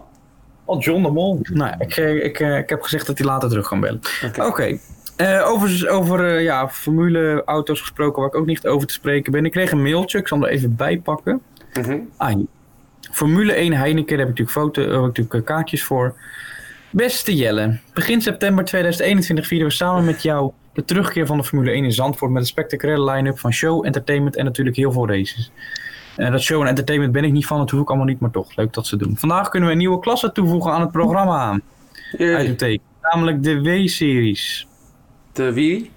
B: Oh, John de Mol. Nou, ja, ik, eh, ik, eh, ik heb gezegd dat hij later terug kan bellen. Oké. Eh, over over eh, ja, formule-auto's gesproken, waar ik ook niet over te spreken ben. Ik kreeg een mailtje, ik zal hem er even bij pakken.
A: Mhm.
B: Ah, hier. Formule 1 Heineken, daar heb ik natuurlijk, foto, eh, heb ik natuurlijk eh, kaartjes voor. Beste Jelle, begin september 2021 vieren we samen met jou de terugkeer van de Formule 1 in Zandvoort met een spectaculaire line-up van show, entertainment en natuurlijk heel veel races. Eh, dat show en entertainment ben ik niet van, dat hoef ik allemaal niet, maar toch, leuk dat ze doen. Vandaag kunnen we een nieuwe klasse toevoegen aan het programma,
A: Jee.
B: uitroepteken. Namelijk de W-series.
A: De wie?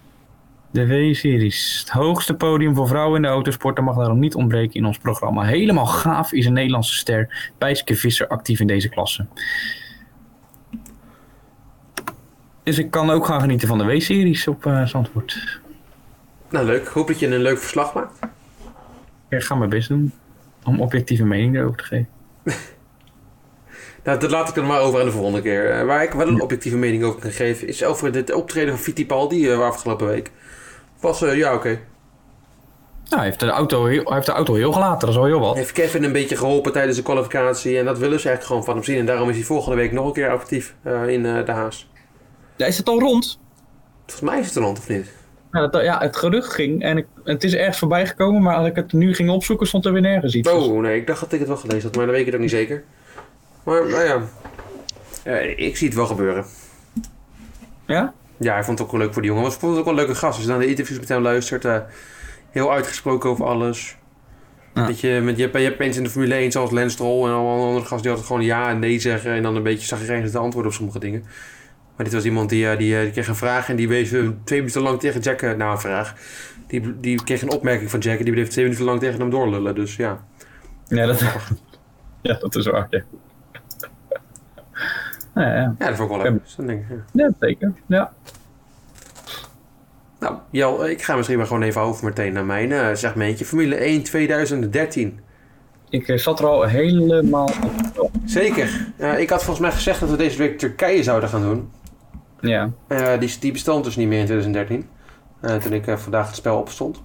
B: De W-series. Het hoogste podium voor vrouwen in de autosport. Dat mag daarom niet ontbreken in ons programma. Helemaal gaaf is een Nederlandse ster. Bijske Visser actief in deze klasse. Dus ik kan ook gaan genieten van de W-series op eh Zandvoort.
A: Nou, leuk. Ik hoop dat je een leuk verslag maakt.
B: Ik ga mijn best doen om objectieve mening erover te geven.
A: Nou, dat laat ik er maar over aan de volgende keer. Eh, Waar ik wel een objectieve mening over kan geven, is over dit optreden van Fittipaldi eh, afgelopen week. Was, eh, ja, oké.
B: Nou, hij heeft de auto heel, hij heeft de auto heel gelaten, dat is al heel wat.
A: Heeft Kevin een beetje geholpen tijdens de kwalificatie en dat willen ze eigenlijk gewoon van hem zien. En daarom is hij volgende week nog een keer actief eh, in eh, de Haas.
B: Ja, is het al rond?
A: Volgens mij is het een hand of niet?
B: Ja, dat- ja, het gerucht ging en ik, het is ergens voorbij gekomen, maar als ik het nu ging opzoeken, stond er weer nergens iets. Dus-
A: Oh, nee, ik dacht dat ik het wel gelezen had, maar dan weet ik het ook niet zeker. Maar, nou ja. Eh, ik zie het wel gebeuren.
B: Ja?
A: Ja, hij vond het ook wel leuk voor die jongen. Want hij vond het ook wel een leuke gast. Als je naar de interviews met hem luistert, eh, heel uitgesproken over alles.
B: Ja.
A: Dat je, met, je, hebt, je hebt mensen in de Formule 1, zoals Lens Stroll en allemaal andere gasten, die altijd gewoon ja en nee zeggen. En dan een beetje zagrijnig te antwoorden op sommige dingen. Maar dit was iemand die, eh, die, eh, die kreeg een vraag en die wees eh, twee minuten lang tegen Jack eh, na een vraag. Die, die kreeg een opmerking van Jack en die bleef twee minuten lang tegen hem doorlullen. Dus ja.
B: Ja, dat, (laughs) ja, dat is waar. Ja, ja, ja.
A: Ja, dat vond ik wel leuk. Dus dan denk ik, ja.
B: ja zeker. Ja.
A: Nou, Jel, ik ga misschien maar gewoon even over meteen naar mijn eh, segmentje. Formule 1 2013.
B: Ik eh, zat er al helemaal op.
A: Zeker. Eh, ik had volgens mij gezegd dat we deze week Turkije zouden gaan doen.
B: Ja.
A: Eh, die, die bestond dus niet meer in 2013. eh, toen ik eh, vandaag het spel opstond.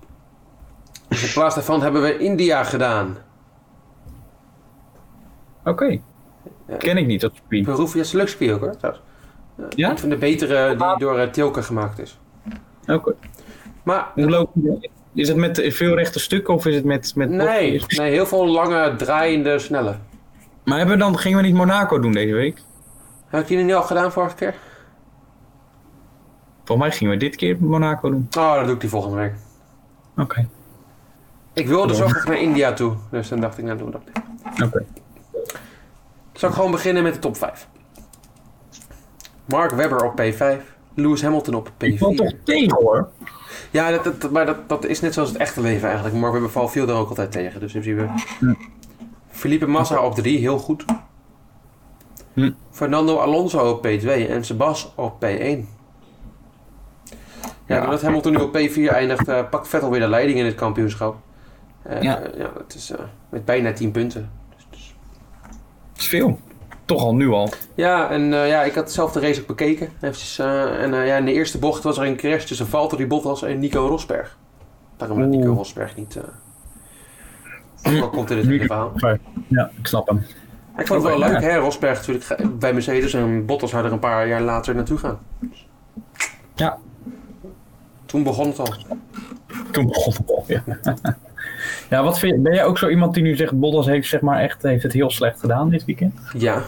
A: Dus in plaats daarvan hebben we India gedaan.
B: Oké. Ken ik niet, dat spie.
A: Peruvia's is een leuk spiel ook hoor. trouwens. Eh,
B: Ja?
A: Een van de betere die door eh, Tilke gemaakt is.
B: Oké.
A: Maar
B: Hoe loopt Is het met eh, veel rechte stukken of is het met... met
A: nee, nee, heel veel lange, draaiende, snelle.
B: Maar hebben we dan, gingen we niet Monaco doen deze week?
A: Heb ik die nu al gedaan vorige keer?
B: Volgens mij gingen we dit keer Monaco doen.
A: Oh, dat doe ik die volgende week.
B: Oké.
A: Ik wilde zo graag naar India toe. Dus dan dacht ik, nou doen we dat.
B: Oké.
A: Zal ik gewoon beginnen met de top 5. Mark Webber op P5. Lewis Hamilton op
B: Ik val toch
A: P4.
B: tegen hoor.
A: Ja, dat, dat- maar dat, dat is net zoals het echte leven eigenlijk. Mark Webber valt viel er ook altijd tegen. Dus in principe... Felipe Massa op 3, heel goed.
B: Hm.
A: Fernando Alonso op P2 en Sebas op P1. Ja,
B: Ja.
A: doordat Hamilton nu op P4 eindigt, eh, pakt Vettel weer de leiding in het kampioenschap. Eh,
B: Ja.
A: ja, het is eh, met bijna 10 punten.
B: Dat is veel. Toch al nu al.
A: Ja, en eh, ja, ik had zelf de race ook bekeken. Eventjes, eh, en eh, ja, in de eerste bocht was er een crash tussen Valtteri Bottas en Nico Rosberg. Daarom werd
B: Oeh.
A: Nico Rosberg niet... eh ook al komt
B: (laughs)
A: in het hele verhaal.
B: Ja, ik snap hem.
A: Ik vond het wel
B: Oké,
A: leuk,
B: ja.
A: hè? Rosberg natuurlijk ge- bij Mercedes en Bottas zou er een paar jaar later naartoe gaan.
B: Ja.
A: Toen begon het al.
B: Toen begon het al, ja. (laughs) Ja, wat vind je, ben jij ook zo iemand die nu zegt, Bottas heeft, zeg maar, echt, heeft het heel slecht gedaan dit weekend?
A: Ja,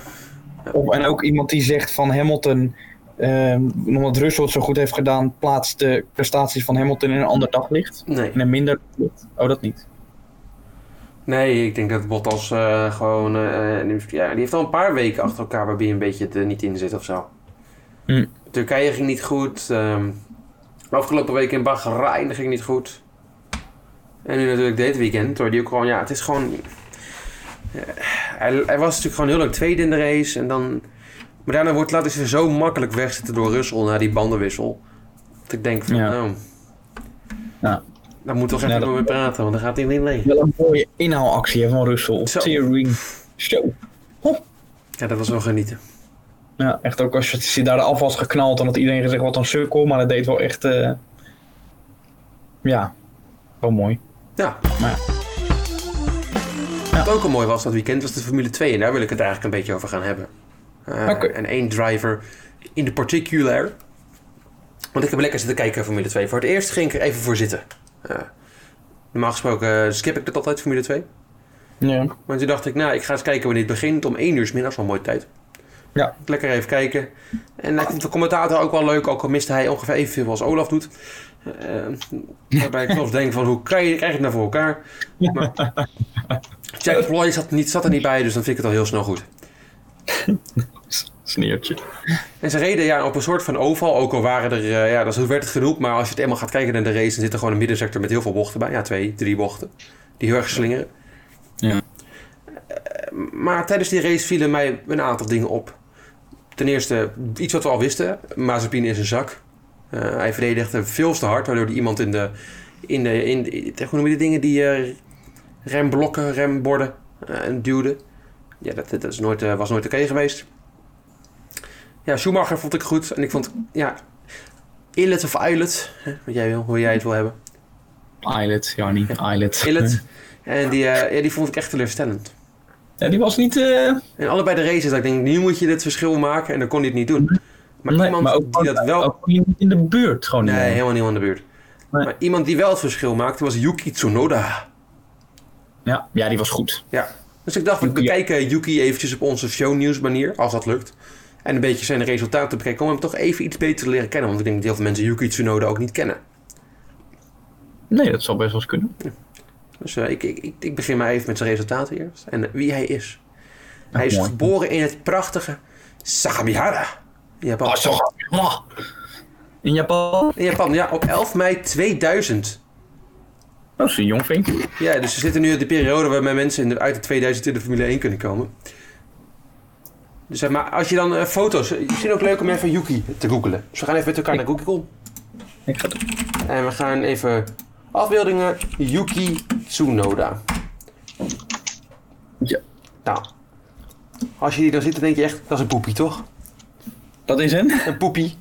B: Of, en ook iemand die zegt van Hamilton, ehm omdat Russell het zo goed heeft gedaan, plaatst de prestaties van Hamilton in een ander daglicht.
A: nee.
B: In een minder daglicht. Oh, dat niet.
A: Nee, ik denk dat Bottas eh, gewoon... eh, die, ja, die heeft al een paar weken achter elkaar waarbij hij een beetje er niet in zit of zo.
B: Hm.
A: Turkije ging niet goed. ehm, afgelopen week in Bahrein ging niet goed. En nu natuurlijk dit weekend, waar die ook gewoon... Ja, het is gewoon... eh, hij, hij was natuurlijk gewoon heel lang tweede in de race. En dan, maar daarna wordt, laat hij ze zo makkelijk wegzetten door Russell na die bandenwissel. Dat ik denk van,
B: Ja.
A: nou...
B: Ja.
A: Daar moet toch
B: Ja,
A: even
B: dat-
A: mee praten, want dan gaat hij niet mee.
B: Wel een mooie inhaalactie hè, van Russell.
A: Zo.
B: Tearing. Zo.
A: Ja, dat was wel genieten.
B: Ja, echt ook als je als je daar de af was geknald, dan had iedereen gezegd wat een sukkel, maar dat deed wel echt, eh, ja, wel mooi.
A: Ja.
B: Maar
A: Wat ook al mooi was dat weekend was de Formule 2 en daar wil ik het eigenlijk een beetje over gaan hebben. Eh,
B: Oké.
A: En één driver in de particular. Want ik heb lekker zitten kijken Formule 2. Voor het eerst ging ik er even voor zitten. Eh, normaal gesproken eh, skip ik dat altijd, Formule 2.
B: Ja.
A: Maar toen dacht ik, nou, ik ga eens kijken wanneer het begint. Om 1 uur 's middags, wel mooi tijd.
B: Ja.
A: Lekker even kijken. En ik vond de commentator ook wel leuk, ook al miste hij ongeveer evenveel als Olaf doet. Eh, waarbij ik soms denk van, hoe krijg je, krijg je het nou voor elkaar? Maar Jack Ploy zat, niet, zat er niet bij, dus dan vind ik het al heel snel goed.
B: Sneertje.
A: En ze reden ja, op een soort van oval, ook al waren er, eh, ja, dat werd het genoeg. Maar als je het eenmaal gaat kijken naar de race, dan zit er gewoon een middensector met heel veel bochten bij. Ja, twee, drie bochten. Die heel erg slingeren.
B: Ja.
A: Eh, maar tijdens die race vielen mij een aantal dingen op. Ten eerste, iets wat we al wisten, Mazepin is een zak. Eh, hij verdedigde veel te hard, waardoor die iemand in de, in de, in de, hoe noem je die dingen, die eh, remblokken, remborden eh, duwde. Ja, dat, dat is nooit, eh, was nooit oké geweest. Ja, Schumacher vond ik goed. En ik vond, ja, Illet of Islet, hè, wat jij wil, hoe jij het wil hebben.
D: Islet, Jarni, Islet.
A: Illet. En die, eh, ja, die vond ik echt teleurstellend.
D: Ja, die was niet... eh,
A: En allebei de races, dat ik denk, nu moet je dit verschil maken. En dan kon hij het niet doen. Maar
B: Nee,
A: iemand
B: maar ook-
A: die dat wel...
B: Ook niet in de buurt gewoon.
A: nee,
B: niet.
A: helemaal niet aan de buurt.
B: Nee.
A: Maar iemand die wel het verschil maakte was Yuki Tsunoda.
B: Ja, ja, die was goed.
A: Dus ik dacht, we
B: Yuki, ja.
A: bekijken Yuki eventjes op onze shownieuws manier, als dat lukt. En een beetje zijn resultaten bekijken om hem toch even iets beter te leren kennen. Want ik denk dat heel veel mensen Yuki Tsunoda ook niet kennen.
B: Nee, dat zal best wel eens kunnen.
A: Dus eh, ik, ik, ik, ik begin maar even met zijn resultaten eerst. En eh, wie hij is. hij is
B: mooi.
A: geboren in het prachtige Sagamihara. In Japan.
B: Ah, zo. Ah. In Japan?
A: In Japan, ja, op 11 mei 2000.
B: Dat is een jong vink.
A: Ja, dus we zitten nu in de periode waarbij mensen in de, uit de 2000 in de Formule 1 kunnen komen. Dus zeg maar, als je dan eh, foto's... eh, Misschien ook leuk om even Yuki te googelen. Dus we gaan even met elkaar naar Google.
B: Ik ga het
A: En we gaan even afbeeldingen Yuki Tsunoda.
B: Ja.
A: Nou, als je die dan ziet, dan denk je echt, dat is een poepie, toch?
D: dat is een,
A: Een poepie.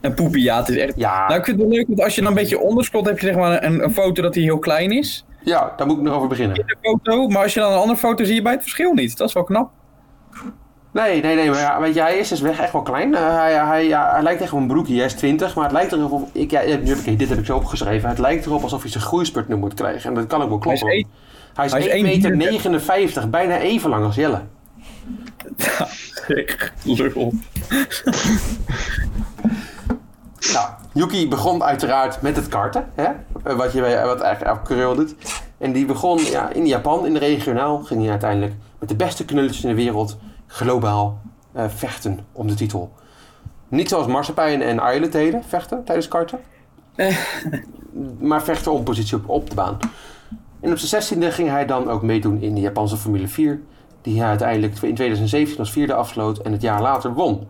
D: een poepie, ja. Het is echt...
A: Ja,
D: Nou, ik vind het wel leuk, want als je dan een beetje onderscrollt, heb je zeg maar een, een foto dat hij heel klein is.
A: ja, daar moet ik nog over beginnen.
D: De foto, maar als je dan een andere foto zie je bij het verschil niet. Dat is wel knap.
A: Nee, nee, nee, maar ja, weet je, hij is dus weg echt wel klein. Eh, hij, hij, ja, hij lijkt echt op een broekje. Hij is 20, maar het lijkt erop. of- Ik, ja, eh, nu heb ik, dit heb ik zo opgeschreven. Het lijkt erop alsof hij zijn groeispurt nu moet krijgen. En dat kan ook wel
D: Hij is
A: kloppen. Hij is,
D: één-
A: hij
D: hij is
A: is 1,59
D: één-
A: meter, 59, bijna even lang als Jelle.
D: Lul.
A: Nou, Yuki begon uiteraard met het karten, hè? Eh, Wat, je, bij- wat eigenlijk elke coureur doet. En die begon ja, in Japan, in de regionaal, ging hij uiteindelijk met de beste knulletjes in de wereld globaal eh, vechten om de titel. Niet zoals Marsepijn en Ireland deden, vechten tijdens karten. maar vechten om positie op, op de baan. En op zijn 16e ging hij dan ook meedoen in de Japanse Formule 4. Die hij uiteindelijk in 2017 als vierde afsloot en het jaar later won.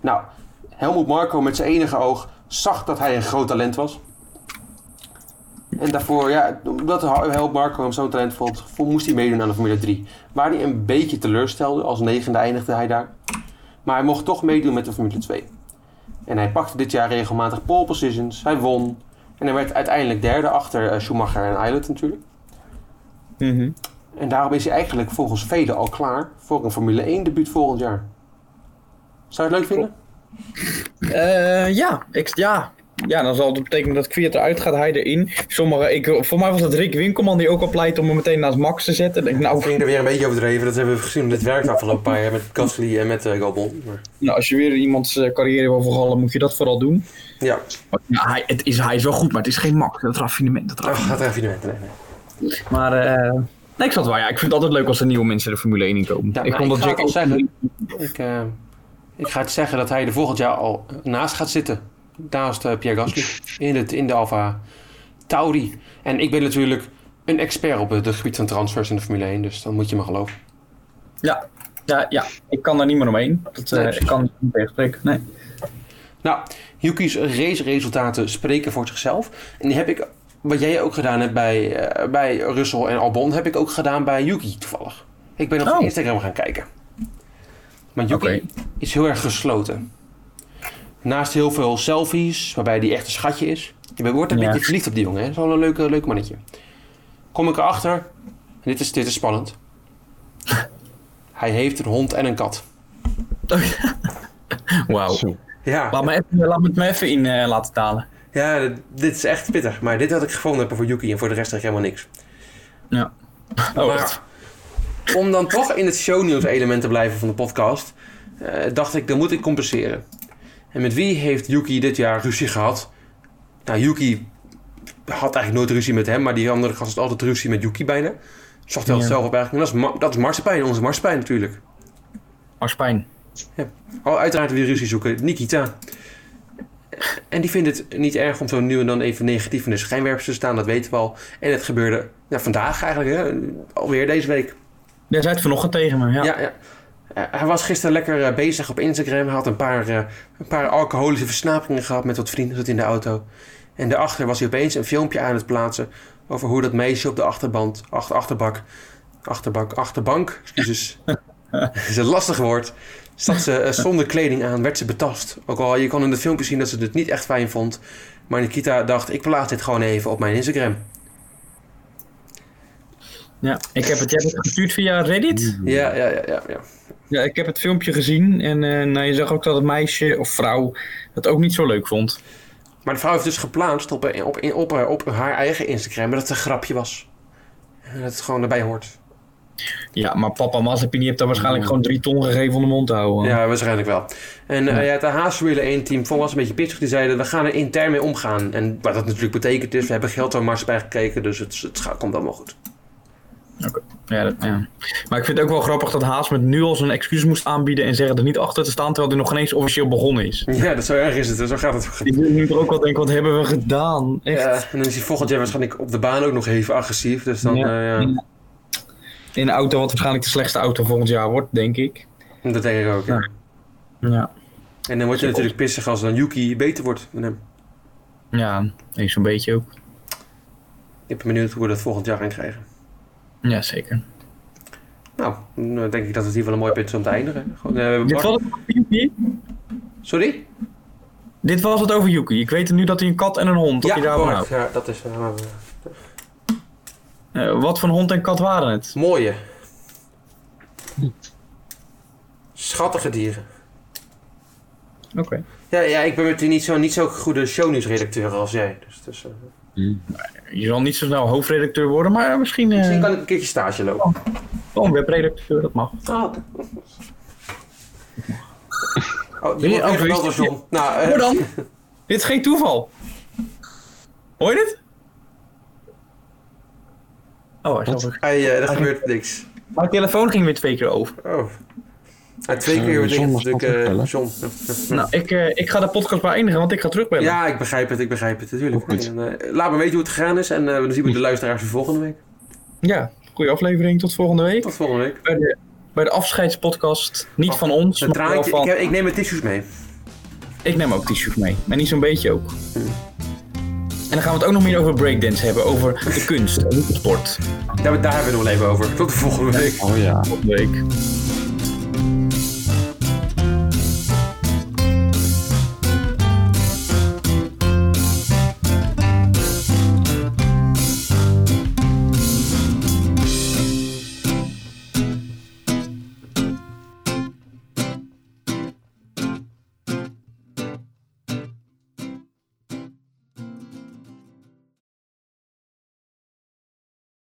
A: Nou, Helmoet Marco met zijn enige oog zag dat hij een groot talent was. En daarvoor, ja, omdat Helmoet Marco hem zo'n talent vond, vo- moest hij meedoen aan de Formule 3. Waar hij een beetje teleurstelde, als negende eindigde hij daar. Maar hij mocht toch meedoen met de Formule 2. En hij pakte dit jaar regelmatig pole positions, hij won. En hij werd uiteindelijk derde achter eh, Schumacher en Eilert natuurlijk.
D: Mhm.
A: En daarom is hij eigenlijk volgens velen al klaar voor een Formule 1 debuut volgend jaar. Zou je het leuk vinden?
D: Eh, ja, ik, ja. ja, dan zal het betekenen dat Kwiat eruit gaat, hij erin. Sommige, ik, voor mij was dat Rick Winkelman die ook al pleit om hem meteen naast Max te zetten. Ik Denk,
A: Nou,
D: nou,
A: ging er weer een beetje overdreven. Dat hebben we gezien. Dit werkt afgelopen paar jaar met Gasly en met eh, Albon. Maar,
D: nou, als je weer iemands eh, carrière wil vergallen, moet je dat vooral doen. nou,
A: ja,
B: Ja, hij, het is, hij is wel goed, maar het is geen mak. Dat raffinement. Dat
A: oh,
B: raffinement.
A: gaat er even niet mee.
B: Maar eh, nee, ik zat wel. Ja, ik vind het altijd leuk als er nieuwe mensen de Formule 1 in komen.
A: Ja,
B: ik
A: maar
B: vond
A: ik
B: dat
A: ga het
B: Jack
A: al
B: ook-
A: zeggen. Ik, eh, ik ga het zeggen dat hij er volgend jaar al naast gaat zitten. Naast eh, Pierre Gasly. In, het, in de Alfa Tauri. En ik ben natuurlijk een expert op het gebied van transfers in de Formule 1. Dus dan moet je me geloven.
D: Ja, ja, ja. ik kan daar niet meer omheen. Dat eh,
A: Nee,
D: ik kan niet tegenspreken. Nee.
A: Nou, Yuki's raceresultaten spreken voor zichzelf. En die heb ik, wat jij ook gedaan hebt bij, eh, bij Russell en Albon, heb ik ook gedaan bij Yuki toevallig. Ik ben op zijn
B: Oh.
A: Instagram gaan kijken. Maar Yuki
B: Oké.
A: is heel erg gesloten. Naast heel veel selfies, waarbij die echt een schatje is. Je wordt een
B: Ja.
A: beetje verliefd op die jongen. Hè? Dat is wel een leuk, leuk mannetje. Kom ik erachter. En dit is, dit is
B: (laughs)
A: spannend. Hij heeft een hond en een kat.
B: Wauw.
C: Zo.
A: Ja,
B: Laat me even, laat me het me even in eh, laten talen.
A: Ja, dit, dit is echt pittig. Maar dit had ik gevonden voor Yuki en voor de rest echt helemaal niks.
B: Ja. Oh, echt.
A: Maar om dan toch in het shownieuws element te blijven van de podcast, eh, dacht ik, dan moet ik compenseren. En met wie heeft Yuki dit jaar ruzie gehad? Nou, Yuki had eigenlijk nooit ruzie met hem, maar die andere gast had altijd ruzie met Yuki bijna. Zocht hij altijd
B: Ja.
A: zelf op eigenlijk. En dat is, Ma- dat is Marsepein, onze Marsepein natuurlijk.
B: Max Pijn.
A: Oh, uiteraard weer ruzie zoeken. Nikita. En die vindt het niet erg om zo nu en dan even negatief in de schijnwerpers te staan, dat weten we al. En het gebeurde ja, vandaag eigenlijk, hè? alweer deze week.
B: Jij zei het vanochtend tegen me. Ja.
A: Ja, ja. Eh, hij was gisteren lekker eh, bezig op Instagram. Hij had een paar, eh, een paar alcoholische versnaperingen gehad met wat vrienden zat in de auto. En daarachter was hij opeens een filmpje aan het plaatsen over hoe dat meisje op de achterband, achter, achterbak achterbank, achterbank, excuses. (laughs) Dat is een lastig woord. Zat ze eh, zonder kleding aan, werd ze betast. Ook al je kan in het filmpje zien dat ze het niet echt fijn vond. Maar Nikita dacht, ik plaats dit gewoon even op mijn Instagram.
E: Ja, ik heb het, jij hebt het gestuurd via Reddit.
A: Ja, ja, ja, ja. ja.
B: Ja, ik heb het filmpje gezien en eh, nou, je zag ook dat het meisje of vrouw het ook niet zo leuk vond.
A: Maar de vrouw heeft dus geplaatst op, op, op, op, eh, op haar eigen Instagram dat het een grapje was. En dat het gewoon erbij hoort.
B: Ja, maar papa Mazepin die heeft daar waarschijnlijk gewoon drie ton gegeven om de mond te houden.
A: Ja, waarschijnlijk wel. En eh, ja, het Haaswille 1 team vond was een beetje pittig. Die zeiden, we gaan er intern mee omgaan. En wat dat natuurlijk betekent is, we hebben geld aan Mars bijgekeken. Dus het, het gaat- komt allemaal goed.
B: Ja, dat- ja. Maar ik vind het ook wel grappig dat Haas met nu al zijn excuus moest aanbieden en zeggen er niet achter te staan, terwijl hij nog geen eens officieel begonnen is.
A: Ja, dat zo erg is het. Zo gaat het.
B: Ik wil nu er ook wel denken, wat hebben we gedaan? Echt.
A: Ja, en dan is hij volgend jaar waarschijnlijk op de baan ook nog even agressief. Dus dan,
B: Ja.
A: eh, ja.
B: In een auto wat waarschijnlijk de slechtste auto volgend jaar wordt, denk ik.
A: dat denk ik ook. ja.
B: Ja. Ja,
A: En dan word je natuurlijk pissig als dan Yuki beter wordt dan hem.
B: ja eens een beetje ook.
A: Ik ben benieuwd hoe we dat volgend jaar gaan krijgen.
B: Ja, zeker.
A: Nou, dan denk ik dat het hier wel een mooi punt is om te eindigen. Gewoon, eh, we hebben
B: Dit
A: Bart-
B: was, het over Yuki.
A: Sorry?
B: Dit was het over Yuki. Ik weet nu dat hij een kat en een hond, dat hij daarvan
A: Bart.
B: houdt.
A: ja, dat is eh,
B: Eh, wat voor hond en kat waren het?
A: mooie. Schattige dieren.
B: Oké.
A: Ja, ja, ik ben natuurlijk niet zo'n niet zo goede shownieuwsredacteur als jij. Dus, dus, eh,
B: Je zal niet zo snel hoofdredacteur worden, maar misschien eh,
A: misschien kan ik een keertje stage lopen.
B: wel een webredacteur, dat mag.
A: Oh, oké. Oh,
B: Ben
A: je
B: je
A: wordt
B: ook
A: echt wel door
B: geweest?
A: John. Nou, eh,
B: Hoor dan! (laughs) Dit is geen toeval. Hoor je dit? Oh, hij is alweer-
A: hij, eh, er gebeurt niks.
B: Mijn telefoon ging weer twee keer over.
A: Oh. Ah, twee
C: Eh,
A: keer weer
C: John
A: dingen
C: mag
A: natuurlijk,
C: dat ook
A: eh,
C: bellen.
A: John. Ja, ja.
B: Nou, ik, eh, ik ga de podcast maar eindigen, want ik ga terugbellen.
A: Ja, ik begrijp het, ik begrijp het, natuurlijk.
C: Ook goed.
A: En, eh, laat me weten hoe het gegaan is en eh, dan zien we de luisteraars weer volgende week.
B: ja. Goeie aflevering, tot volgende week.
A: Tot volgende week.
B: Bij de, bij de afscheidspodcast, niet
A: Oh,
B: van ons,
A: Een
B: maar wel
A: traantje,
B: van...
A: ik,
B: Ik,
A: heb- ik neem mijn tissues mee.
B: neem ook t-shirt mee, maar niet zo'n beetje ook. En dan gaan we het ook nog meer over breakdance hebben, over de kunst en niet de sport.
A: Daar, daar hebben we het nog wel even over. Tot de volgende week.
C: Oh ja.
B: Volgende week.